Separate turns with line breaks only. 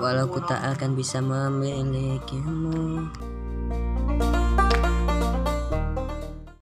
walau ku tak akan bisa memilikimu.